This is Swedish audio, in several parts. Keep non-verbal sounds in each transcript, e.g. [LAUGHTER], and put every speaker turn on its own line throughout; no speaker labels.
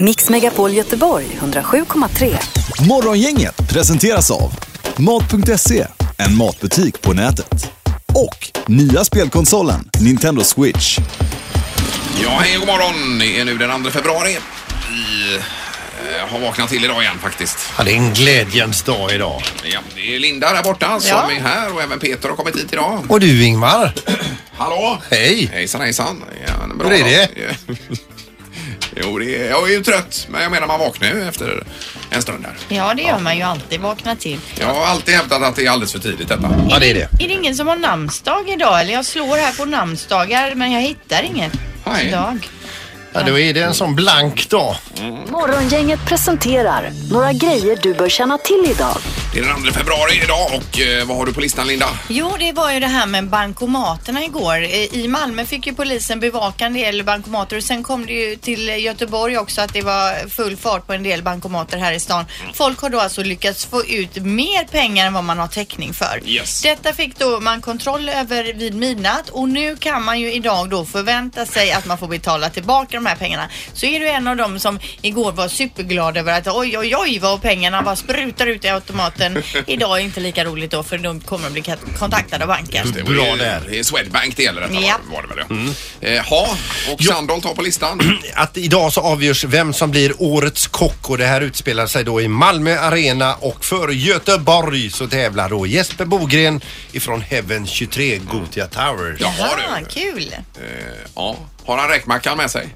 Mix Megapol Göteborg 107,3.
Morgongänget presenteras av Mat.se, en matbutik på nätet. Och nya spelkonsolen Nintendo Switch.
Ja, hej god morgon. Det är nu den 2 februari. Vi eh, har vaknat till idag igen faktiskt.
Ja, det är en glädjens dag idag.
Ja, det är Linda där borta som är här och även Peter har kommit hit idag.
Och du Ingmar,
Hallå!
hej!
Hejsan hejsan. Ja, en bra
Hur är det?
dag. Jo, det är, jag är ju trött, men jag menar man vaknar ju efter en stund där.
Ja, det gör man ju alltid. Vakna till.
Jag har alltid hävdat att det är alldeles för tidigt detta.
Ja, det är det.
Är det ingen som har namnsdag idag? Eller jag slår här på namnsdagar men jag hittar ingen
Nej.
dag.
Ja, då är det en sån blank dag.
Morgongänget presenterar några grejer du bör känna till idag.
Det är den 2 februari idag och eh, vad har du på listan Linda?
Jo, det var ju det här med bankomaterna igår. Eh, I Malmö fick ju polisen bevaka en del bankomater och sen kom det ju till Göteborg också att det var full fart på en del bankomater här i stan. Folk har då alltså lyckats få ut mer pengar än vad man har täckning för.
Yes.
Detta fick då man kontroll över vid midnatt och nu kan man ju idag då förvänta sig att man får betala tillbaka de här pengarna. Så är du en av dem som igår var superglad över att oj, oj, oj vad pengarna bara sprutar ut
[LAUGHS]
i automaten. Idag är inte lika roligt då för de kommer att bli kat- kontaktade av banken.
Det var
Bra
ju-
där. Mm.
Det är Swedbank det gäller detta
Ja.
var det väl? Ja, eh, ha, och Sandholt har på listan.
Att idag så avgörs vem som blir årets kock och det här utspelar sig då i Malmö Arena och för Göteborg så tävlar då Jesper Bogren ifrån Heaven 23 Gothia Towers.
Jaha
Ah,
du.
kul!
Eh, ja. Har han räkmackan med sig?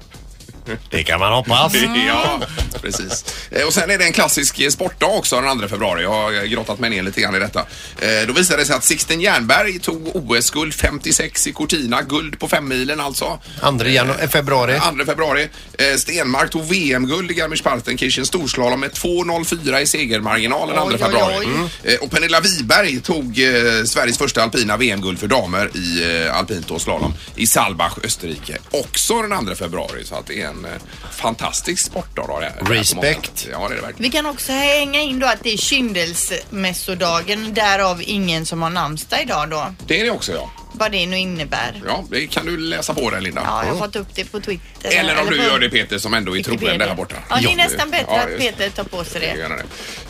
Det kan man hoppas.
[LAUGHS] Ja, precis. Eh, Och sen är det en klassisk eh, sportdag också den 2 februari. Jag har eh, grottat mig ner lite grann i detta. Eh, Då visade det sig att Sixten Jernberg tog OS-guld 56 i Cortina. Guld på femmilen alltså.
2 januari, eh, februari.
2 februari. Eh, Stenmark tog VM-guld i Garmisch-Partenkirchen storslalom med 2.04 i segermarginal den 2
Oj, oj,
februari.
oj.
Mm. Eh, Och Pernilla Wiberg tog eh, Sveriges första alpina VM-guld för damer i eh, alpint och slalom i Salbach, Österrike. Också den 2 februari. Så att det är en eh, fantastisk sportdag. Då, det här- det här på
Respect.
måndagen. Ja, det är det verkligen.
Vi kan också hänga in då att det är kyndelsmässodagen, därav ingen som har namnsdag idag då.
Det är det också, ja.
Vad det nu innebär.
Ja, det kan du läsa på där, Linda.
Ja, jag har fått upp det på Twitter.
Eller om du
på
gör det Peter som ändå är troende
Wikipedia.
där borta.
Ja, det
Ja.
är nästan bättre
Ja,
att
just
Peter tar på sig det.
Gärna det.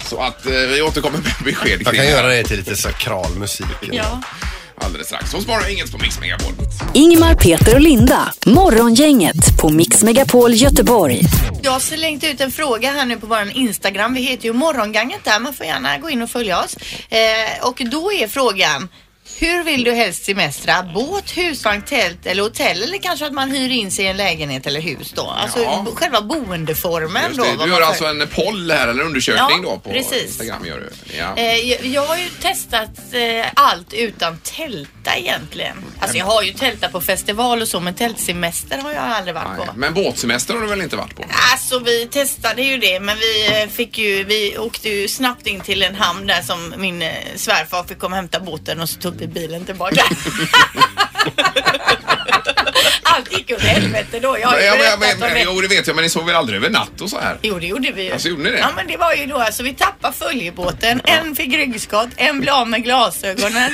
Så att eh, vi återkommer med besked
Jag
kring
kan
det
göra det till lite sakral musik.
Ja.
alldeles strax. Så sparar jag inget på Mix Megapol.
Ingmar, Peter och Linda. Morgongänget på Mix Megapol Göteborg.
Jag har slängt ut en fråga här nu på vår Instagram. Vi heter ju Morgonganget där. Man får gärna gå in och följa oss. Eh, och då är frågan. Hur vill du helst semestra? Båt, husvagn, tält eller hotell? Eller kanske att man hyr in sig i en lägenhet eller hus då? Alltså
Ja.
bo- själva boendeformen
Just
då.
det.
vad
Du
man
gör
för-
alltså en poll här, eller undersökning
Ja,
då på
precis.
Instagram. Gör du. Ja.
Eh, jag, jag har ju testat eh, allt utan tälta egentligen. Alltså jag har ju tältat på festival och så men tältsemester har jag aldrig varit
Nej.
på.
Men båtsemester har du väl inte varit på?
Alltså vi testade ju det men vi eh, fick ju, vi åkte ju snabbt in till en hamn där som min eh, svärfar fick komma och hämta båten och så tog vi
[LAUGHS]
bilen tillbaka. Allt gick åt helvete då. Jag har ju
Ja, men,
berättat
men, men,
om det.
jo, det vet jag, men ni sov väl aldrig över natt och så här?
Jo, det gjorde vi ju.
Alltså, gjorde ni det?
Ja, men det var ju då alltså vi tappade följebåten. En fick ryggskott, en blev av med glasögonen.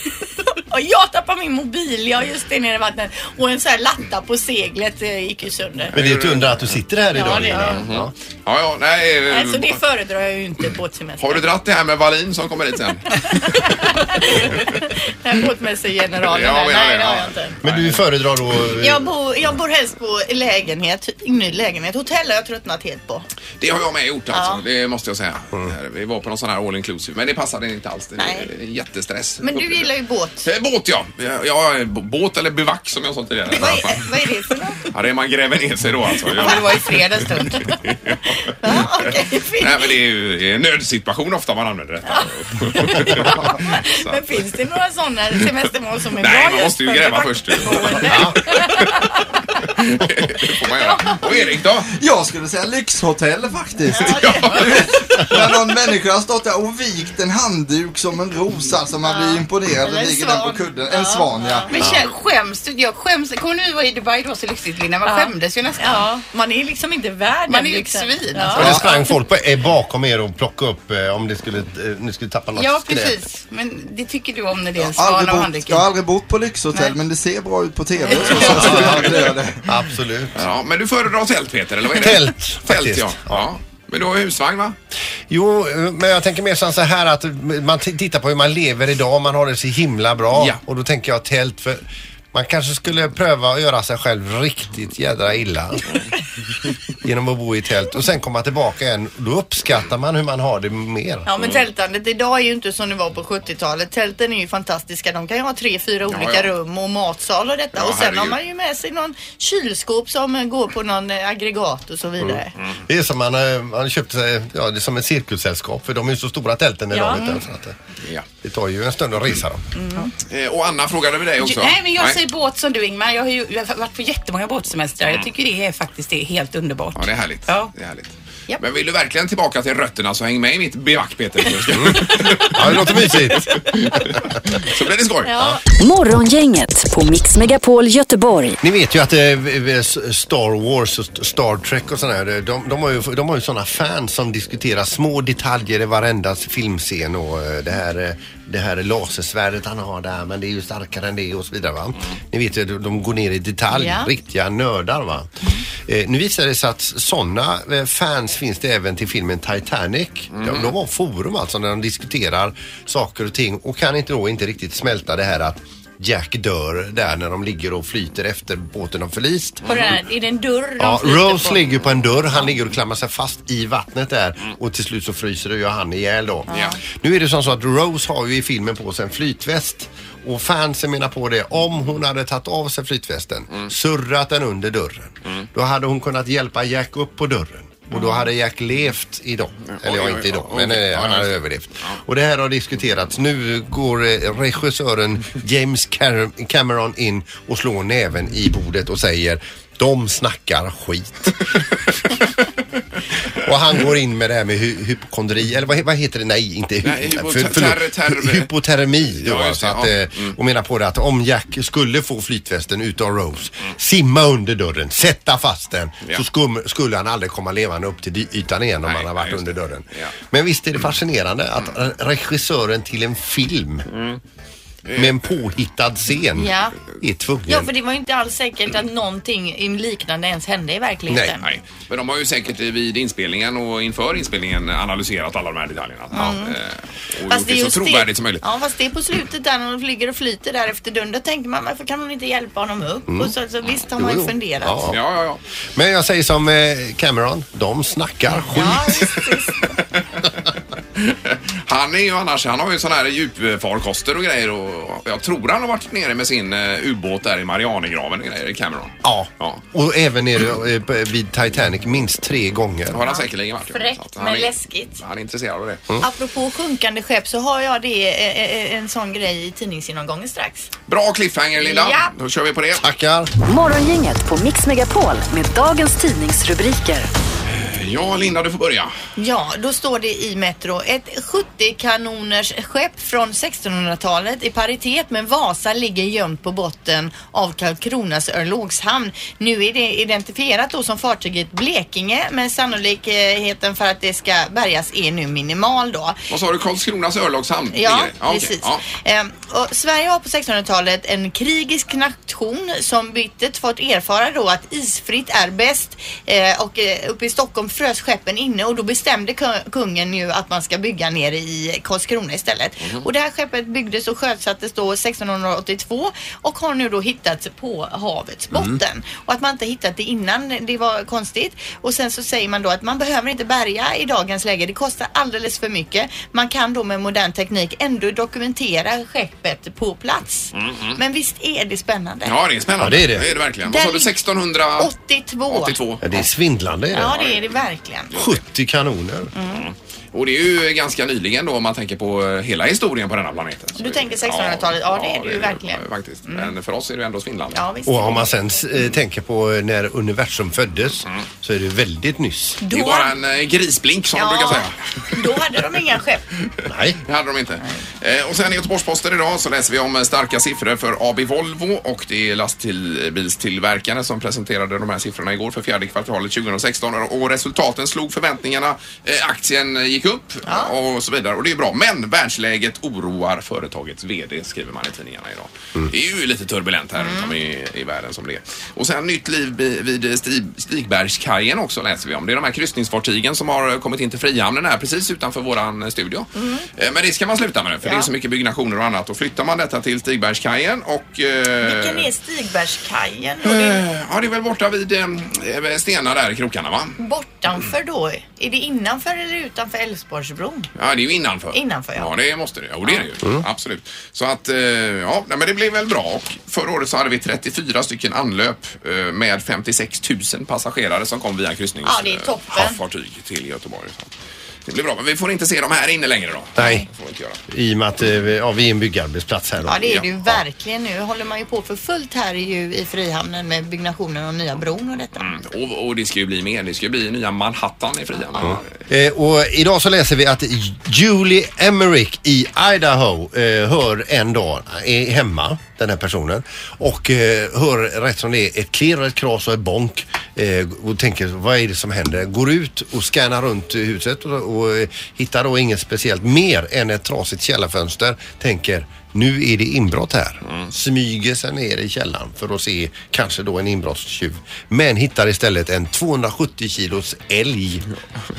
[LAUGHS] och jag tappade min mobil, ja just det, nere i vattnet. Och en sån här latta på seglet eh, gick ju sönder.
Men det är ju ett under att du sitter här idag.
Ja, det är det.
Lina. Ja.
Ja, ja, nej. eh,
Alltså det föredrar jag ju inte båtsemester.
Har du dratt det här med Wallin som kommer hit
[LAUGHS]
sen?
Den båtmässegeneralen
Ja,
där.
men, ja,
Nej, det har
ja.
jag inte.
Men du föredrar då...
Jag bor, jag bor helst på lägenhet, ny lägenhet. Hotell har jag tröttnat helt på.
Det har jag med gjort alltså,
Ja.
det måste jag säga. Vi var på någon sån här all inclusive, men det passade inte alls. Det
Nej.
är jättestress.
Men du gillar ju båt.
Eh, Båt ja. ja, ja, b- båt eller bivack som jag sa tidigare.
Vad är, vad är det för något?
Ja, det är man gräver ner sig då
[LAUGHS]
alltså.
Ja,
Ja.
men det var i fredags stund. ja, okej. Fin-
Nej, men det är ju det är en nödsituation ofta man använder detta. [LAUGHS] Så.
Men finns det några sådana semestermål som är bra
Nej, man
just
måste ju
för
gräva
debatt-
först. ju. Det får man göra. Och Erik då?
Jag skulle säga lyxhotell faktiskt.
Ja, det-
När någon människa har stått där och vikt en handduk som en rosa som man blir imponerad
Eller
och
en
viker den
svan.
på kudden. En svan ja.
Men kä- skäms du? Jag skäms. Kommer du ihåg när vi var i Dubai då så lyxigt Linda? Man
Ja.
skämdes ju nästan.
Ja, man är liksom inte värd
Man
den
är ju ett
lyxen.
svin,
Ja.
alltså.
Men det sprang folk på, eh, bakom er och plockade upp eh, om ni skulle, eh, ni skulle tappa något
Ja,
skräp.
precis. Men det tycker du om när det är en svan
Aldrig
av
bott,
handduken.
jag har aldrig bott på lyxhotell
Nej.
men det ser bra ut på TV. Så, så, så, så, så,
Absolut.
Ja, men du föredrar tält Peter, eller vad är det?
Tält,
Tält,
faktiskt.
ja. ja. Men du har ju husvagn va?
Jo, eh, men jag tänker mer som så här att man t- tittar på hur man lever idag. Man har det så himla bra.
Ja.
Och då tänker jag tält för man kanske skulle pröva att göra sig själv riktigt jädra
[LAUGHS]
illa genom att bo i tält och sen komma tillbaka igen. Då uppskattar man hur man har det mer.
Ja
Mm.
men tältandet idag är ju inte som det var på 70-talet. Tälten är ju fantastiska. De kan ju ha tre, fyra olika
ja.
rum och matsal och detta.
Ja,
och sen har
herregud.
man ju med sig någon kylskåp som eh, går på någon eh, aggregat och så
Mm.
vidare.
Det är som man, eh, man köpte sig, ja det är som ett cirkussällskap för de är ju så stora tälten idag.
Ja.
Vet du, så att det,
Ja.
det tar ju en stund att resa dem.
Eh, Och Anna frågade vi dig också.
Nej, men jag säger båt som du Ingmar. Jag har ju jag har varit på jättemånga båtsemestrar. Jag tycker det är faktiskt det är helt underbart.
Mm. Ja, det är härligt.
Ja.
Det är härligt.
Japp.
Men vill du verkligen tillbaka till rötterna så häng med i mitt bivack
[LAUGHS]
Peter.
Mm. Ja, det låter mysigt.
så blir det skoj.
Morgongänget på Mix Megapol Göteborg.
Ni vet ju att eh, v- v- S- Star Wars och St- Star Trek och sådär, eh, de, de har ju, de har ju sådana fans som diskuterar små detaljer i varenda filmscen och eh, det här, eh, det här lasersvärdet han har där men det är ju starkare än det och så vidare va. Ni vet ju, de- de går ner i detalj,
Ja.
riktiga nördar va. Eh, nu visar det sig att sådana eh, fans finns det även till filmen Titanic. De, de har forum alltså när de diskuterar saker och ting och kan inte då inte riktigt smälta det här att Jack dör där när de ligger och flyter efter båten har förlist.
På den här, är det en dörr de
Ja,
flyter
Rose
på?
ligger på en dörr, han ligger och klamrar sig fast i vattnet där och till slut så fryser det ju han ihjäl då.
Ja.
Nu är det som så att Rose har ju i filmen på sig en flytväst och fansen menar på det, om hon hade tagit av sig flytvästen,
Mm.
surrat den under dörren, då hade hon kunnat hjälpa Jack upp på dörren. Och
Mm.
då hade Jack levt idag. Eller ja,
oj,
inte
oj,
idag,
oj,
men
oj.
eh,
Ja,
han
just
hade
det.
överlevt. Och det här har diskuterats. Nu går eh, regissören James Car- Cameron in och slår näven i bordet och säger de snackar skit. [LAUGHS] och han går in med det här med hy- hypokondri, eller vad, he- vad heter det? Nej, inte hy-
Nej, hypoter-
för- förlåt.
terr- terr-
Hy- hypotermi. Då,
Ja, just
alltså,
det,
att,
ja. Mm.
eh, Och menar på det att om Jack skulle få flytvästen utav Rose, simma under dörren, sätta fast den,
Ja.
så skum, skulle han aldrig komma levande upp till dy- ytan igen om
Nej,
han har varit
nej, just
under
det.
dörren.
Ja. Mm.
Men visst är det fascinerande att re- regissören till en film med en påhittad scen
Ja.
är tvungen.
Mm.
Ja för det var ju inte alls säkert att någonting liknande ens hände i verkligheten.
Nej, men de har ju säkert vid inspelningen och inför inspelningen analyserat alla de här detaljerna. Ja, eh, och gjort det så
just
trovärdigt som möjligt.
Ja, fast det är på slutet där när de flyger och flyter där efter dörren. Då tänker man varför kan hon inte hjälpa honom upp? Och så, så visst har man
Jo,
ju
jo.
funderat.
Ja.
Mm. Ja, ja, ja.
Men jag säger som eh, Cameron, de snackar skit.
Ja, visst,
[LAUGHS]
visst.
Han är ju annars, han har ju sån här djupfarkoster och grejer och jag tror han har varit nere med sin eh, ubåt där i Marianergraven och grejer, Cameron.
Ja.
ja.
Och även nere eh, på- vid Titanic minst tre gånger.
Det har han säkerligen varit.
Fräckt,
Så att han
men
är-
läskigt.
Han är intresserad av det.
Apropå sjunkande skepp så har jag det, eh, eh, en sån grej i tidningsgenomgången strax.
Bra cliffhanger Linda.
Ja.
Då kör vi på det.
Tackar.
Morgongänget på Mix Megapol med dagens tidningsrubriker.
Ja, Linda du får börja.
Ja, då står det i Metro. Ett 70-kanoners skepp från 1600-talet i paritet med Vasa ligger gömt på botten av Karlkronas örlogshamn. Nu är det identifierat då som fartyget Blekinge men sannolikheten för att det ska bärgas är nu minimal då.
Vad sa du? Karlskronas örlogshamn?
Ja,
ligger det? okej.
precis.
Ja.
Ehm, och Sverige har på 1600-talet en krigisk nation som bittert fått erfara då att isfritt är bäst. Eh, och eh, uppe i Stockholm frös skeppen inne och då bestämde ku- kungen ju att man ska bygga ner i Karlskrona istället.
Mhm.
Och det här skeppet byggdes och sjösattes då 1682 och har nu då hittats på havets
Mm.
botten. Och att man inte hittat det innan, det var konstigt. Och sen så säger man då att man behöver inte bärga i dagens läge. Det kostar alldeles för mycket. Man kan då med modern teknik ändå dokumentera skeppet på plats. Men visst är det spännande?
Mm-hmm. ja, det är spännande.
Ja, det är det.
det, är det verkligen. Vad sa du?
Där-
1682?
82.
Ja, det är svindlande. är det.
Ja, Mm. det är det Verkligen.
70 kanoner.
Och det är ju ganska nyligen då om man tänker på eh, hela historien på denna planeten. Så
Du
det-
tänker 1600-talet. Ja, det är det ju verkligen. Mm.
eh, Faktiskt. Men för oss är det ju ändå svindlande.
Ja, visst.
Och om man sen eh, tänker på när universum föddes
Mm.
så är det väldigt nyss.
Det är bara en eh, grisblink som de brukar säga.
då hade de inga skepp.
[LAUGHS]
Nej.
Det hade de inte. Eh, och sen i Göteborgs-Posten idag så läser vi om eh, starka siffror för AB Volvo och det är lastbilstillverkaren som presenterade de här siffrorna igår för fjärde kvartalet 2016 och resultaten slog förväntningarna. Eh, aktien gick upp och så vidare och det är bra. Men världsläget oroar företagets VD skriver man i tidningarna idag. Det är ju lite turbulent här runt om i, i världen som det är. Och sen nytt liv bi- vid Stig, Stigbergskajen också läser vi om. Det är de här kryssningsfartygen som har kommit in till Frihamnen här precis utanför våran studio.
Mm.
Eh, Men det ska man sluta med för det är så mycket byggnationer och annat. Och flyttar man detta till Stigbergskajen och... eh,
Vilken är Stigbergskajen? Och det är
eh, Ja, det är väl borta vid eh, Stena där i krokarna va?
Bortanför då? Är det innanför eller utanför Älvsborgsbron?
Ja, det är ju innanför.
Innanför, ja.
Ja, det måste det. Jo, det är det
Mm.
ju. Absolut. Så att, eh, ja, nej, men det blev väl bra. Och förra året så hade vi 34 stycken anlöp eh, med 56 000 passagerare som kom via kryssnings-
Ja, det är toppen.
eh, havsfartyg till Göteborg. Så Det blir bra, men vi får inte se dem här inne längre då.
Nej.
Det får vi inte göra.
I och med att eh, vi- ja, vi är en byggarbetsplats här då.
Ja, det är det ju
Ja.
verkligen nu. håller man ju på för fullt här ju i Frihamnen med byggnationen och nya bron och detta.
Och, och det ska ju bli mer. Det ska ju bli nya Manhattan i Frihamnen.
Eh, och idag så läser vi att Julie Emmerich i Idaho eh, hör en dag, eh, är hemma den här personen och eh, hör rätt som det är ett klirr, ett kras och ett bonk eh, och tänker vad är det som händer? Går ut och scannar runt huset och, och eh, hittar då inget speciellt mer än ett trasigt källarfönster. Tänker nu är det inbrott här. Smyger sig ner i källaren för att se kanske då en inbrottstjuv. Men hittar istället en 270 kilos älg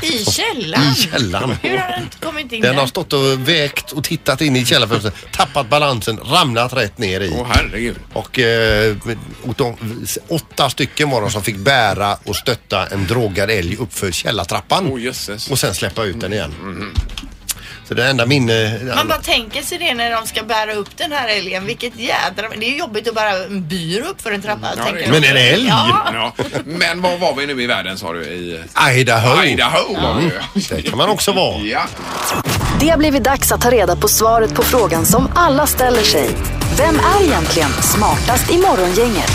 I källaren?
i källaren.
Hur har den inte kommit in
Den har
där?
stått och vägt och tittat in i källarfönstret, tappat balansen, ramlat rätt ner
Åh
i.
herregud.
Och, eh, och de, åtta stycken var de som fick bära och stötta en drogad älg uppför källartrappan.
Åh, jösses.
och sen släppa ut den igen. Så det enda minne...
Man bara tänker sig det när de ska bära upp den här älgen. Vilket jädra... Det är ju jobbigt att bära en byr upp för en trappa.
Mm. Ja, det är
tänker jag.
Men en älg?
Ja.
Ja. Men var var vi nu i världen sa du? I
Idaho.
Idaho var vi ju. [LAUGHS]
Det kan man också vara.
Ja.
Det har blivit dags att ta reda på svaret på frågan som alla ställer sig. Vem är egentligen smartast i morgongänget?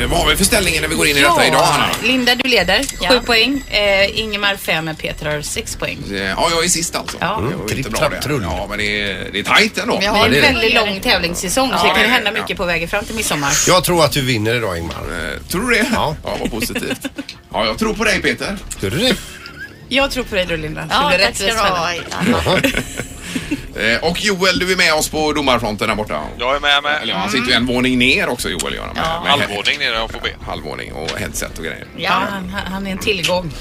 Eh, Vad har vi för ställning när vi går in i detta idag Hanna?
Linda, du leder. Sju
Ja.
poäng. Eh, Ingemar fem, och Peter har sex poäng.
Eh, Ja, jag är sist alltså.
Ja.
Det var ju inte
Mm. Tripp,
bra
trapp,
det.
trull.
Ja, men det är, det är tajt ändå.
Ja,
Men det är
det är
en väldigt lång tävlingssäsong så
Ja,
det kan
det
ju
är
hända
det, ja.
mycket på vägen fram till midsommar.
Jag tror att du vinner idag Ingmar.
Eh, Tror du det?
Ja.
vad positivt. Ja, jag tror på dig Peter.
Gör du det?
Jag tror på dig då Linda. Så
Ja,
det blir
tack ska du
rättvist mellan-
ha. Ja.
Jaha.
Eh, Och Joel, du är med oss på domarfronten där borta.
Jag är med med.
Eller ja, han sitter ju
Mm.
en våning ner också Joel gör han. med-
Ja.
med-
Halvvåning nere på B.
Halvvåning och headset och grejer.
Ja, han, han är en tillgång.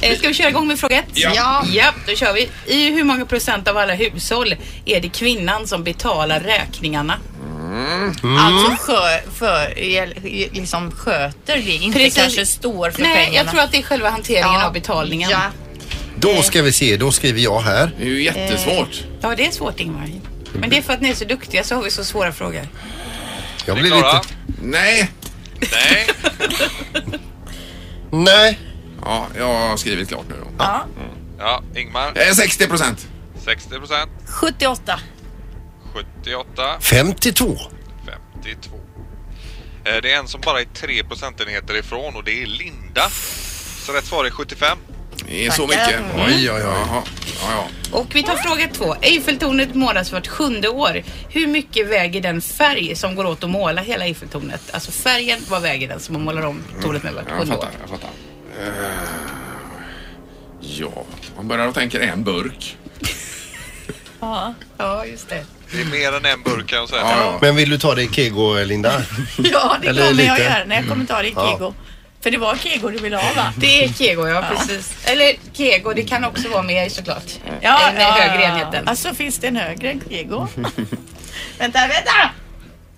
Eh, ska vi köra igång med fråga ett?
Ja.
ja. Ja, då kör vi. I hur många procent av alla hushåll är det kvinnan som betalar räkningarna?
Alltså skö, för, el- liksom sköter det, inte
Precis.
kanske står för
Nej,
pengarna.
jag tror att det är själva hanteringen
Ja.
av betalningen.
Ja.
Ja.
Då ska vi se, då skriver jag här.
Det är ju jättesvårt.
det är svårt Ingmar. Men det är för att ni är så duktiga så har vi så svåra frågor.
Jag
Är
blir
ni klara?
lite...
Nej.
Nej.
Nej.
Ja, jag har skrivit klart nu då.
Ja, Ingmar.
Eh, 60 procent.
60 procent.
78.
78.
52.
52. Eh, Det är en som bara är 3 procentenheter ifrån och det är Linda. Så rätt svar är 75.
Det är så mycket.
Tackar.
Mm.
Oj, oj, oj. Jaha. Ja, ja.
Och vi tar fråga två. Eiffeltornet målas vart sjunde år. Hur mycket väger den färg som går åt att måla hela Eiffeltornet? Alltså färgen, vad väger den som man målar om tornet med vart
Jag
sjunde år?
fattar, jag fattar. Eh, Ja, man börjar och tänker en burk.
Ja, just det.
Det är mer än en burk kan jag säga.
Ja, ja.
Men vill du ta det i Kego, Linda?
Ja, det
Eller
kommer jag
lite.
göra när jag kommer ta det i
Ja.
Kego. För det var Kego du ville ha va?
Det är kego, ja, precis. Eller kego, det kan också vara med såklart. Eh, med högre enheten.
Alltså finns det en högre än Kego? [LAUGHS] vänta, vänta!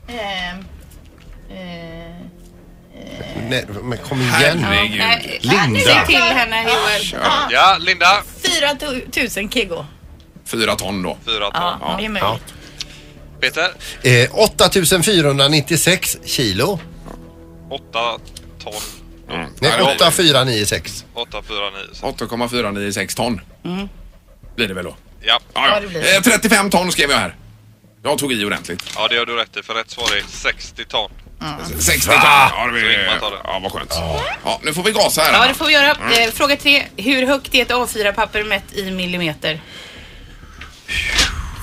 Ehm, eh,
Nej, men kom igen.
Herregud.
Nej,
Linda. Ah,
Säg till henne Joel.
Ja,
Ja, Linda.
4 000 Kego.
Fyra ton då.
4 ton.
Ja, det är möjligt.
Peter.
Eh, 8496 kilo.
8 ton.
Nej,
Ja, det-
8496.
849.
8,496 ton. Blir det väl då?
Ja.
Ja, ja.
Ja, Mm. det blir det.
Eh, 35 ton skrev jag här. Jag tog i ordentligt.
ja, det gör du rätt i för rätt svar är 60 ton.
60 ton. Ja, det
Så
blir,
Ingmar tar det.
ja vad skönt. Ja, nu får vi gasa här.
Ja,
Anna.
det får vi göra. Eh, Fråga tre. Hur högt är ett A4-papper mätt i millimeter?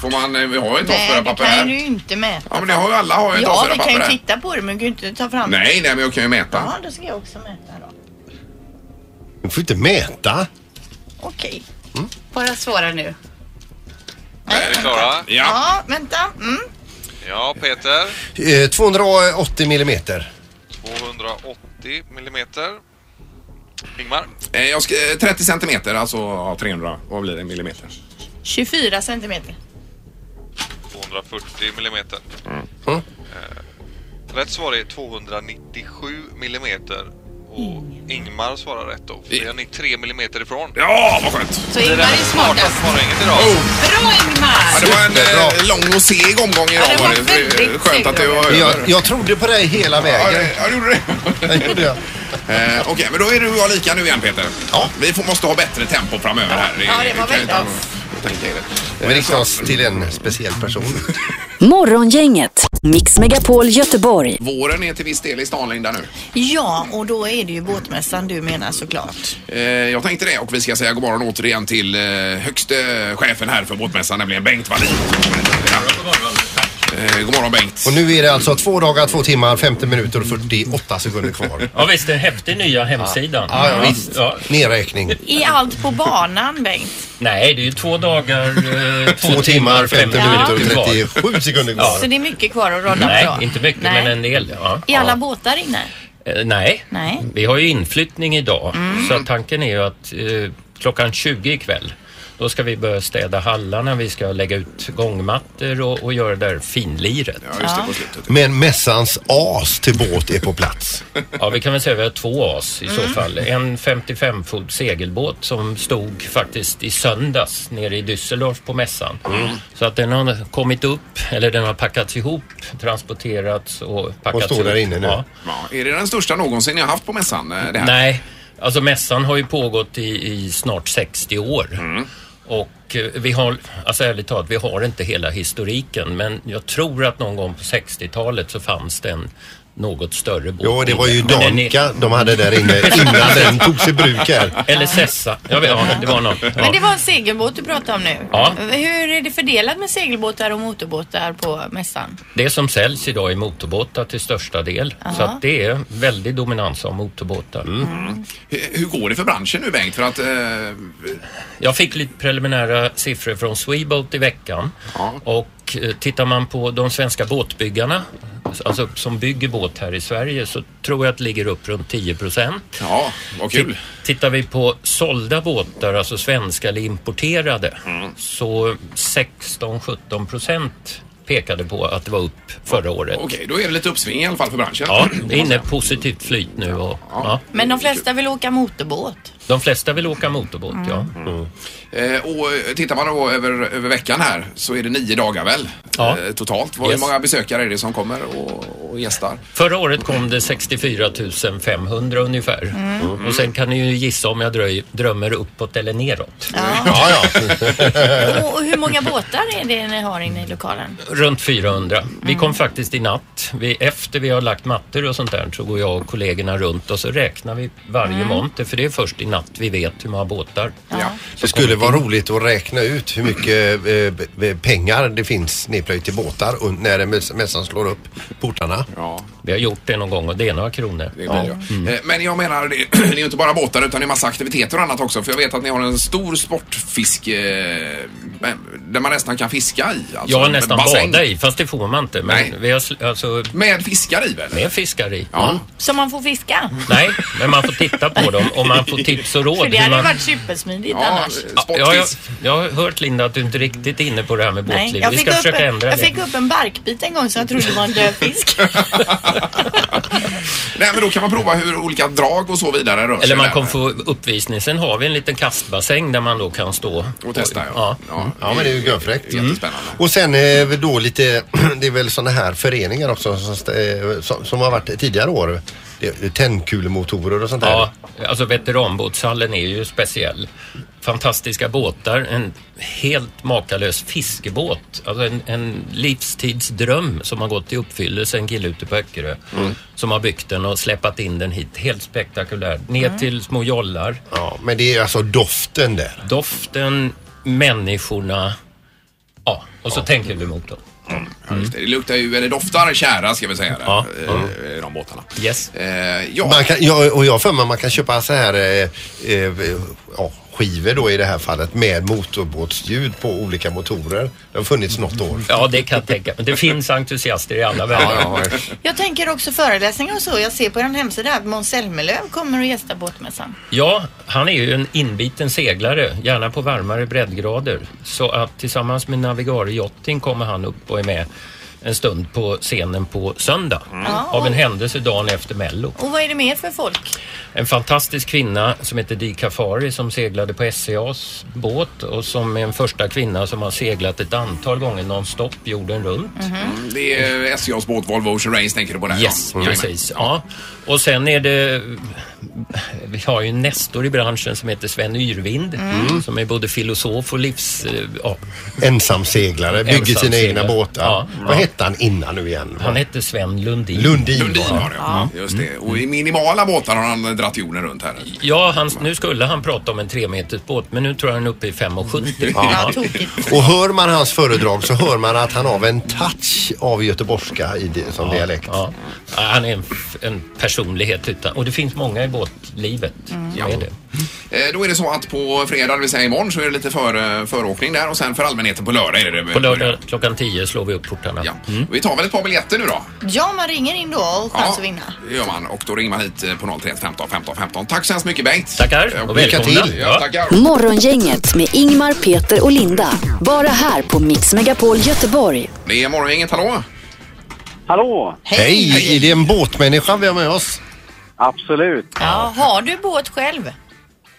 Får man, eh, vi har ju ett
Nej, det
A4-papper här.
kan ju inte mäta.
Ja, men det har ju alla har ju ett
Ja, vi kan
A4-papper
ju
här.
titta på det men vi kan ju inte ta fram
Nej, nej, men jag kan ju
det.
mäta.
Ja, då ska jag också mäta då.
Du får inte mäta.
Okej.
Mm.
Bara svara nu.
Är ni klara?
Ja.
Ja, vänta. Mm.
Ja, Peter.
Eh, 280 millimeter.
280 millimeter. Ingmar.
Eh, Jag ska, eh, 30 centimeter, alltså ja, 300. Vad blir det? Millimeter.
24 centimeter.
240 millimeter.
Mm.
Eh, Rätt svar är 297 millimeter. Och Ingmar svarar rätt då. Vi är ni 3 millimeter ifrån.
Ja, vad skönt!
Så Ingmar är smartast.
morgonen idag.
Bra
Ja,
Ingmar!
det var en
Superbra.
eh, lång och seg omgång idag.
Ja, det var
var det. Det är
väldigt
Skönt att det
seg
var över.
Jag, jag trodde på dig hela
Ja,
vägen.
det- ja, du gjorde det.
Det gjorde jag.
eh, Okej, men då är du och jag lika nu igen Peter.
Ja.
Vi får, måste ha bättre tempo framöver här.
Ja, det var
kan ju
väldigt
inte- jag tänker det. Eh,
Vi riktar oss till en speciell person.
Morgongänget, Mix Megapol Göteborg.
Våren är till viss del i stan Linda nu.
Ja, och då är det ju båtmässan du menar såklart.
Eh, jag tänkte det och vi ska säga god morgon återigen till eh, högste chefen här för båtmässan, nämligen Bengt Wallin. Ja. Eh, god morgon Bengt.
Och nu är det alltså två dagar, två timmar, 50 minuter och 48 sekunder kvar.
Ja visst, en häftig nya hemsidan.
Ja, ja, visst.
Ja.
Nedräkning.
I allt på banan Bengt.
Nej, det är ju två dagar, eh, två,
Två timmar, 50 minuter och
kvar.
37 sekunder kvar.
Så det är mycket kvar att rodda
Nej,
på.
inte mycket,
Nej.
men en del. Ja.
I alla
Ja.
båtar inne?
Eh, nej.
Nej.
vi har ju inflyttning idag. Så att tanken är ju att eh, klockan 20 ikväll då ska vi börja städa hallarna, vi ska lägga ut gångmattor och, och göra det där finliret.
Ja, just det, på slutet.
Men mässans as till båt är på plats.
Ja, vi kan väl säga att vi har två as i så fall. En 55 fot segelbåt som stod faktiskt i söndags nere i Düsseldorf på mässan. Så att den har kommit upp, eller den har packats ihop, transporterats och packats
står där
ihop.
inne nu.
Ja.
Ja, är det den största någonsin jag haft på mässan? eh, Det här?
Nej, alltså mässan har ju pågått i, i snart 60 år. Och eh, vi har, alltså ärligt talat, vi har inte hela historiken men jag tror att någon gång på 60-talet så fanns det en något större båt.
Jo, det var ju
Men den är-
Danka de hade där
[LAUGHS]
inne innan den togs i bruk här.
Eller Sessa. Jag vet, ja, det var någon.
Men
Ja.
det var en segelbåt du pratade om nu.
Ja.
Hur är det fördelat med segelbåtar och motorbåtar på mässan?
Det som säljs idag är motorbåtar till största del. Så att det är väldigt dominans av motorbåtar.
Mm. Hur- Hur går det för branschen nu Bengt? För att, eh,
Jag fick lite preliminära siffror från Sweboat i veckan. Och eh, tittar man på de svenska båtbyggarna, alltså som bygger båt här i Sverige, så tror jag att det ligger upp runt 10 procent.
ja, vad
Typ.
kul.
Tittar vi på sålda båtar, alltså svenska eller importerade,
Mm.
så 16-17 procent pekade på att det var upp förra året.
Okej, då är det lite uppsving i alla fall för branschen.
Ja, det är inne i positivt flyt nu och ja.
Men de flesta vill åka
[LAUGHS]
motorbåt.
de flesta vill åka motorbåt. Ja. Mm.
Eh, och eh, tittar man då över, över veckan här så är det nio dagar väl?
Ja.
Eh, totalt. Vad- Hur
Yes.
många besökare är det som kommer och, och gästar?
Förra året kom det 64 500 ungefär. Och sen kan ni ju gissa om jag dröj, drömmer uppåt eller neråt.
Ja, ja.
Och hur många båtar är det ni har inne i lokalen?
Runt 400. Vi kom faktiskt i natt. Vi, efter vi har lagt mattor och sånt där så går jag och kollegorna runt och så räknar vi varje monter för det är först i natt vi vet hur många båtar.
Ja.
Det skulle vara roligt att räkna ut hur mycket eh, b- b- pengar det finns nedplöjt i båtar och när en mäss- mässan slår upp portarna.
Ja,
Vi har gjort det någon gång och det är några kronor.
det blir det.
Mm.
Eh, Men jag menar, det [CLEARS THROAT] det är ju inte bara båtar utan det är massa aktiviteter och annat också. För jag vet att ni har en stor sportfisk eh, där man nästan kan fiska i. Alltså,
Jag har
en
nästan
bassäng.
badat i, fast det får man inte. Men
Nej.
vi har sl- alltså,
Med fiskar i väl?
med Mm. fiskar i.
Ja.
Som man får fiska?
Nej, men man får titta på dem och man får tips och råd.
För det
hur
hade ju
man...
varit supersmidigt
Ja,
annars.
Ja, jag,
sportfisk.
jag har hört Linda att du inte riktigt är inne på det här med
Nej,
båtliv.
jag
Vi
fick,
ska
upp
försöka
en,
ändra
jag fick
det.
upp en barkbit en gång så jag trodde det var en död
[LAUGHS]
fisk.
Nej, men då kan man prova hur olika drag och så vidare rör sig.
Eller man
där.
kommer få uppvisning. Sen har vi en liten kastbassäng där man då kan stå.
Och testa, ja.
Ja. Mm.
ja.
Ja, men det är ju görfräckt.
Jättespännande.
Och sen eh, [CLEARS THROAT] då lite, det är väl sådana här föreningar också som, st- eh, som, som har varit tidigare år. det- Tändkulemotorer och sånt där.
Ja, alltså veteranbåtshallen är ju speciell. Fantastiska båtar, en helt makalös fiskebåt. Alltså en, en livstidsdröm som har gått i uppfyllelse, en kille ute på Öckerö.
Mm.
Som har byggt den och släpat in den hit. Helt spektakulär. Ner
Mm.
till små jollar.
Ja, men det är alltså doften där.
Doften, människorna. Ja, och så tänker du emot dem.
Ja, just det. det luktar ju, eller doftar tjära ska vi säga. där,
Mm. Ja,
eh,
ja.
i De båtarna.
Yes.
Eh, ja,
Man kan, ja, och jag har för mig att man kan köpa så här eh, eh, ja, skivor då i det här fallet med motorbåtsljud på olika motorer. Det har funnits något år.
Ja, det kan jag tänka mig. Det finns entusiaster i alla världar.
Ja, ja,
Jag tänker också föreläsningar och så. Jag ser på er hemsida att Måns Zelmerlöw kommer och gästar båtmässan.
Ja, han är ju en inbiten seglare, gärna på varmare breddgrader. Så att tillsammans med Navigare Yachting kommer han upp och är med en stund på scenen på söndag. Av en händelse dagen efter Mello.
Och vad är det mer för folk?
En fantastisk kvinna som heter Di Kafari som seglade på SCAs båt och som är en första kvinna som har seglat ett antal gånger nonstop jorden runt.
det är SCAs båt Volvo Ocean Race tänker du på där?
Yes,
ja. Mm.
precis. Ja. Och sen är det... Vi har ju en nestor i branschen som heter Sven Yrvind
Mm.
som är både filosof och livs... eh, Ja,
Ensamseglare, bygger sina
Ensamseglare.
egna båtar.
Ja.
Vad hette han innan nu igen?
han hette Sven Lundin.
Lundin.
Lundin
var
var
han.
det, ja. Just
Mm.
det. Och i minimala båtar har han dratt jorden runt här.
Ja, han, nu skulle han prata om en tremetersbåt men nu tror jag han är uppe
[LAUGHS]
i 5,70.
Ja,
Ja.
tokigt.
Och hör man hans föredrag så hör man att han har en touch av göteborgska i det, som dialekt.
Ja. Ja, Han är en, en personlighet utan... Och det finns många i båtlivet.
Mm.
Ja. Är det.
Eh, Då är det så att på fredag, det vill säga imorgon, så är det lite för, eh, föråkning där och sen för allmänheten på lördag är det det
På lördag Mm. klockan 10 slår vi upp portarna.
Ja. Vi tar väl ett par biljetter nu då?
Ja, man ringer in då och chans att vinna.
det gör man. Och då ringer man hit eh, på 031 15 15 15. Tack så hemskt mycket Bengt.
Tackar
Eh,
och
lycka
välkomna.
till.
Ja, tackar.
Morgongänget med Ingmar, Peter och Linda. Bara här på Mix Megapol Göteborg.
Det är morgongänget, hallå?
Hallå!
Hej! Är det en båtmänniska vi har med oss?
Absolut.
Ja, har du båt själv?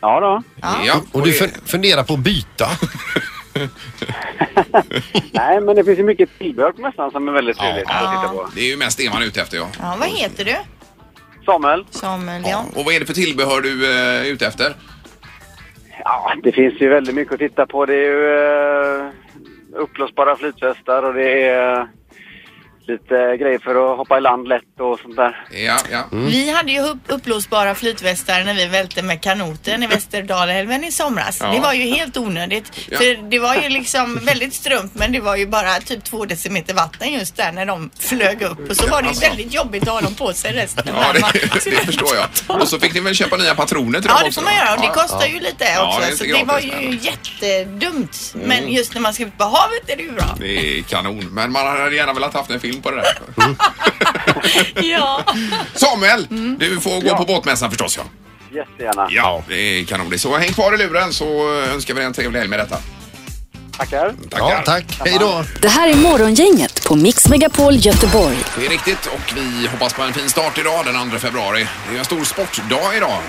Ja då.
Ja.
Och du fun- funderar på att byta?
Nej, men det finns ju mycket tillbehör på mässan som är väldigt trevligt att titta på.
Det är ju mest det man är ute efter ja.
Ja, vad heter du? eh,
Samuel?
Samuel, ja.
Och vad är det för tillbehör du eh, är ute efter?
Ja, det finns ju väldigt mycket att titta på. Det är ju uh, uppblåsbara flytvästar och det är eh, lite grejer för att hoppa i land lätt och sånt där.
Ja, ja. mm.
Vi hade ju upp, upplåsbara flytvästar när vi välte med
[LAUGHS]
kanoten i Västerdalälven i somras.
Ja.
Det var ju helt onödigt.
Ja.
För det var ju liksom väldigt strunt men det var ju bara typ två decimeter vatten just där när de flög upp. Och så var det ju
Alltså.
väldigt jobbigt att ha dem på sig resten av
Ja, det,
[LAUGHS] värmen.
[LAUGHS] det förstår jag. Och så fick ni väl köpa nya patroner till
Ja,
dem
det
också?
får man göra och det
Ja.
kostar ju lite
Ja,
också.
det är inte
så det var
gratis,
ju
men- Mm.
jättedumt. Men just när man ska ut på havet är det ju bra.
Det är kanon, men man hade gärna velat haft en film på det där.
Mm.
Ja.
Samuel,
Mm.
du får gå
Ja.
på båtmässan förstås ja.
Jättegärna.
Ja, det är kanon. Så häng kvar i luren så önskar vi dig en trevlig helg med detta.
Tackar.
Tackar.
Ja, tack. Hej då!
Det här är Morgongänget på Mix Megapol Göteborg.
Det är riktigt och vi hoppas på en fin start idag den 2 februari. Det är ju en stor sportdag idag,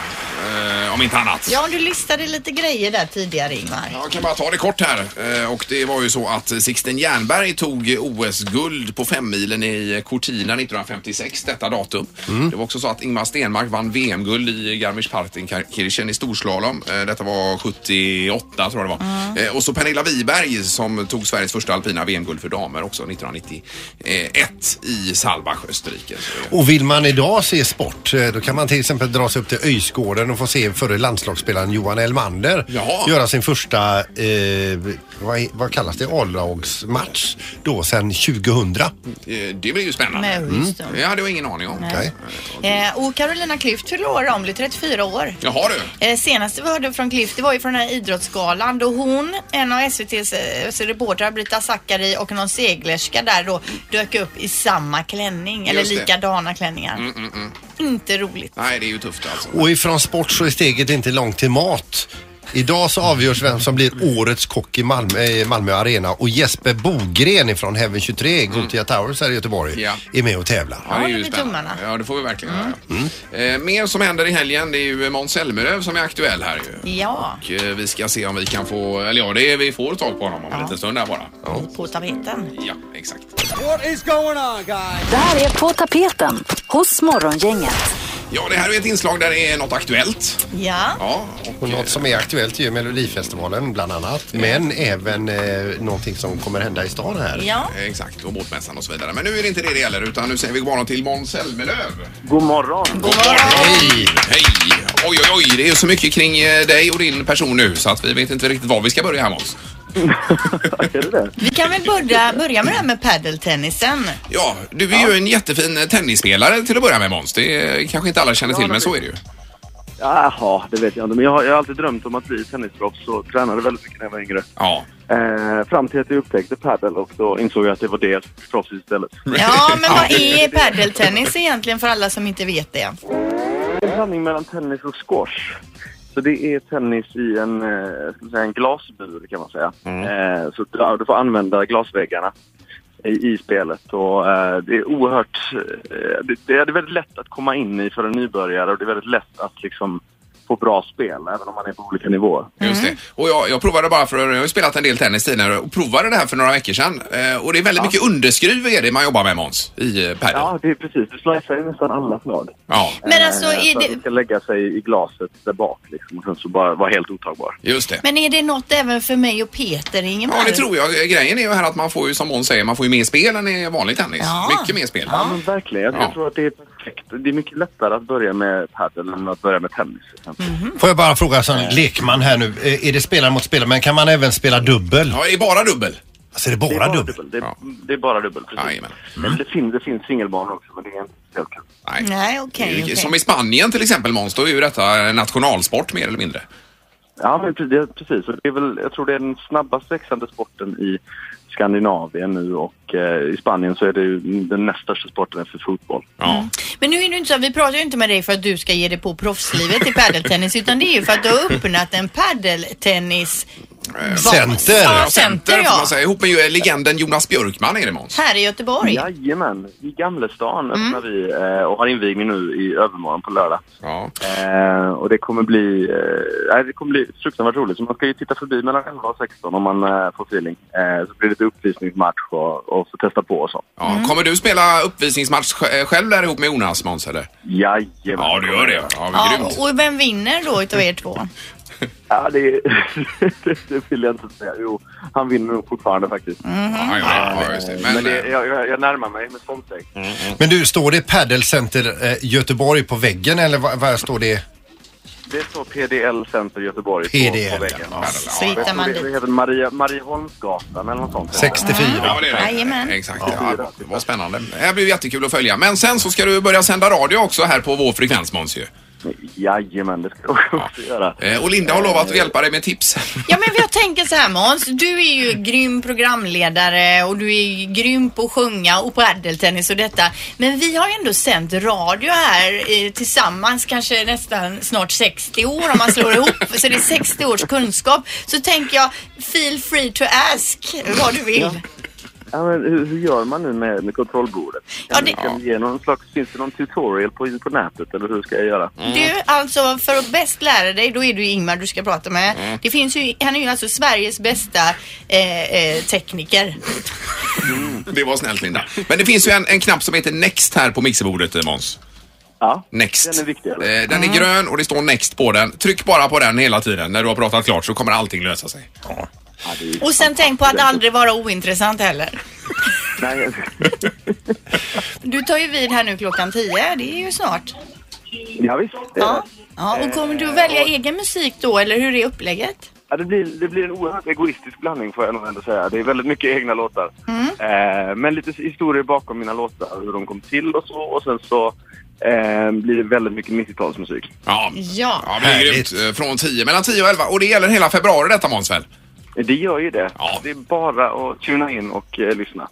eh, om inte annat.
[LAUGHS] ja, du listade lite grejer där tidigare Ingmar.
Jag kan bara ta det kort här. Eh, Och det var ju så att Sixten Jernberg tog OS-guld på femmilen i Cortina 1956, detta datum. Det var också så att Ingmar Stenmark vann VM-guld i Garmisch-Partenkirchen i storslalom. Eh, Detta var 78 tror jag det var. Eh, Och så Pernilla Wiberg som tog Sveriges första alpina VM-guld för damer också 1991 i Salbach, Österrike. Så, eh,
Och vill man idag se sport eh, då kan man till exempel dra sig upp till Öjsgården och få se förre landslagsspelaren Johan Elmander
Jaha.
göra sin första, eh, vad, är- vad kallas det, A-lagsmatch då sedan 2000.
eh, Det blir ju spännande. Mm.
Med Houston.
Det hade jag ingen aning om.
Okej.
Eh, och Carolina Klüft fyller år om, blir 34 år.
Jaha du.
Eh, senaste vi hörde från Klüft det var ju från den här idrottsgalan då hon, en av SVTs eh, reportrar Brita Zackari och någon seglerska där då dök upp i samma klänning eller
Just det.
likadana klänningar. Inte roligt.
Nej, det är ju tufft alltså.
Och ifrån sport så är steget inte långt till mat. Idag så avgörs vem som blir årets kock i Malmö, eh, Malmö Arena och Jesper Bogren ifrån Heaven 23, Gothia Towers här i Göteborg,
Ja.
är med och tävlar.
Ja, det är
Håller
ju
vi
spännande.
tummarna. Mm.
Ja, det får vi verkligen göra. Eh, mer som händer i helgen, det är ju Måns Zelmerlöw som är aktuell här ju.
Ja,
Och, eh, vi ska se om vi kan få, eller ja, det är, vi får tag på honom om en
Ja.
liten stund här bara.
på tapeten.
Ja, exakt.
Det här är På tapeten hos Morgongänget.
Ja, det här är ett inslag där det är något aktuellt.
Ja.
Ja, eh,
Och något som är aktuellt är ju Melodifestivalen bland annat. Men även eh, någonting som kommer hända i stan här.
Ja.
Exakt, och båtmässan och så vidare. Men nu är det inte det det gäller utan nu säger vi god morgon till Måns Zelmerlöw.
God morgon.
God Hej! Hej! Oj, oj, oj, det är ju så mycket kring eh, dig och din person nu så att vi vet inte riktigt var vi ska börja här Måns.
är det det?
Vi kan väl börja, börja med det här med padeltennisen.
Ja, du är ju en jättefin eh, tennisspelare till att börja med Måns. Det eh, kanske inte alla känner till men så är det ju.
Jaha, det vet jag inte. Men jag har, jag har alltid drömt om att bli tennisproffs och tränade väldigt mycket när jag var yngre.
Ja.
Eh, fram till att jag upptäckte padel och då insåg jag att det var det jag skulle bli proffs istället.
[LAUGHS]
Ja, men vad är padeltennis egentligen för alla som inte vet det?
Det är en blandning mellan tennis och squash. Så det är tennis i en, eh, ska man säga, en glasbur kan man säga. Eh, så du, ja, du får använda glasväggarna i, i spelet och eh, det är oerhört, eh, det, det är väldigt lätt att komma in i för en nybörjare och det är väldigt lätt att liksom få bra spel även om man är på olika nivåer.
Just det. Och jag, jag provade bara för, jag har ju spelat en del tennis tidigare och provade det här för några veckor sedan. Eh, och det är väldigt mycket underskruv är det man jobbar med Måns i eh, padel. Ja.
Ja, det är precis. Du slicear ju nästan alla slag.
Men alltså, är
så att
det,
du ska lägga sig i glaset där bak liksom och sen så bara vara helt otagbar.
just det.
men är det något även för mig och Peter Ingemar?
Ja, det tror jag. Eh, Grejen är ju här att man får ju, som Måns säger, man får ju mer spel än i vanlig tennis.
Ja.
Mycket mer spel.
Ja, men verkligen. Jag,
Ja.
jag tror att det är perfekt. Det är mycket lättare att börja med padel än att börja med tennis.
Får jag bara fråga som lekman här nu. Eh, Är det spelare mot spelare men kan man även spela dubbel?
Ja, det är bara dubbel.
Alltså är det bara,
Det är bara
dubbel?
dubbel. Det är, det är bara dubbel, precis.
Jajamän. Mm.
Men det finns, det finns singelbanor också, men det är inte speciellt kul.
Nej.
Nej, okej.
Det är ju-
okej.
Som i Spanien till exempel Måns, då är ju detta nationalsport mer eller mindre.
Ja, men pre- det, precis. Och Det är väl, jag tror det är den snabbast växande sporten i Skandinavien nu och eh, i Spanien så är det ju den näst största sporten efter fotboll.
Ja.
Men nu är det inte så, vi pratar ju inte med dig för att du ska ge dig på proffslivet i padeltennis utan det är ju för att du har öppnat en padeltennis
Center.
Ja,
Och Eh, center
center
får man
ja.
säga. Ihop med ju legenden Jonas Björkman är det Måns.
Här i Göteborg.
Jajamän, i Gamlestan öppnar vi eh, och har invigning nu i övermorgon på lördag.
Ja.
Eh, och det kommer bli, eh, nej, det kommer bli fruktansvärt roligt. Så man ska ju titta förbi mellan 11 och 16 om man eh, får feeling. Eh, så blir det lite uppvisningsmatch och, och så testa på och så.
Ja.
Mm.
Kommer du spela uppvisningsmatch sj- eh, själv där ihop med Jonas Måns eller?
Jajamän.
Ja, du gör det. Ja,
Ja,
grymt.
och- och vem vinner då utav er två?
Ja, det, [LAUGHS] det, det vill jag inte säga. Jo, han vinner nog fortfarande faktiskt.
Ja, ja, ja, just det.
Men,
Mm. Men,
det,
eh,
jag, jag, jag närmar mig med stormsteg.
Men du, står det padelcenter eh, Göteborg på väggen eller vad, vad står det?
Det står PDL Center Göteborg på, på
PDL.
väggen.
Ja.
Så hittar man
Det, det
dit.
heter Maria, Marieholmsgatan eller något sånt.
64.
Ja, det är
Jajamän.
det. Exakt. Ja, vad spännande. Det här blir jättekul att följa. Men sen så ska du börja sända radio också här på vår frekvens Måns ju.
Jajamän, det ska jag också göra.
Eh, Och Linda har lovat att hjälpa dig med tips. [LAUGHS]
Ja men jag tänker så här Måns, du är ju grym programledare och du är ju grym på att sjunga och på ädeltennis och detta. Men vi har ju ändå sänt radio här eh, tillsammans kanske nästan snart 60 år om man slår ihop. Så det är 60 års kunskap. Så tänker jag, feel free to ask vad du vill.
Ja, men hur, hur gör man nu med, med kontrollbordet?
Ja,
Kan,
det-
kan du ge någon slags, finns det någon tutorial på, på nätet eller hur ska jag göra?
Mm.
Du, alltså för att bäst lära dig, då är det ju Ingmar du ska prata med. Det finns ju, han är ju alltså Sveriges bästa eh, eh, tekniker.
Det var snällt Linda. Men det finns ju en, en knapp som heter Next här på mixerbordet eh, Måns.
Ja,
Next.
Den är viktig, eller?
Eh, Den är grön och det står Next på den. Tryck bara på den hela tiden när du har pratat klart så kommer allting lösa sig.
Och sen tänk på att aldrig vara ointressant heller.
nej, [LAUGHS]
Du tar ju vid här nu klockan 10, det är ju snart.
ja, visst. Det, Eh,
Ja. ja och kommer du välja egen musik då eller hur är upplägget?
ja, det, blir, det blir en oerhört egoistisk blandning får jag nog ändå säga. Det är väldigt mycket egna låtar. Eh, men lite historier bakom mina låtar, hur de kom till och så. Och sen så eh, blir det väldigt mycket 90-talsmusik.
Ja.
Ja.
Ja, det är
Härligt.
grymt. Eh, Från 10, mellan 10 och 11. Och det gäller hela februari detta Måns väl?
Det gör ju det.
Ja.
Det är bara att tuna in och eh, lyssna.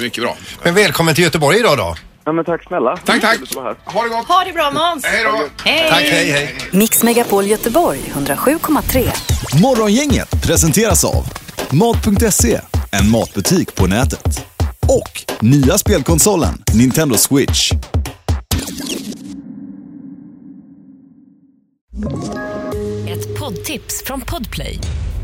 Mycket bra.
Men välkommen till Göteborg idag då.
Ja, men tack snälla.
Tack, tack.
Kul att vara här.
Ha det gott.
Ha det bra Måns!
Hej då.
Tack, hej hej.
Mix Megapol Göteborg 107,3.
Morgongänget presenteras av Mat.se, en matbutik på nätet. Och nya spelkonsolen Nintendo Switch.
Ett poddtips från Podplay.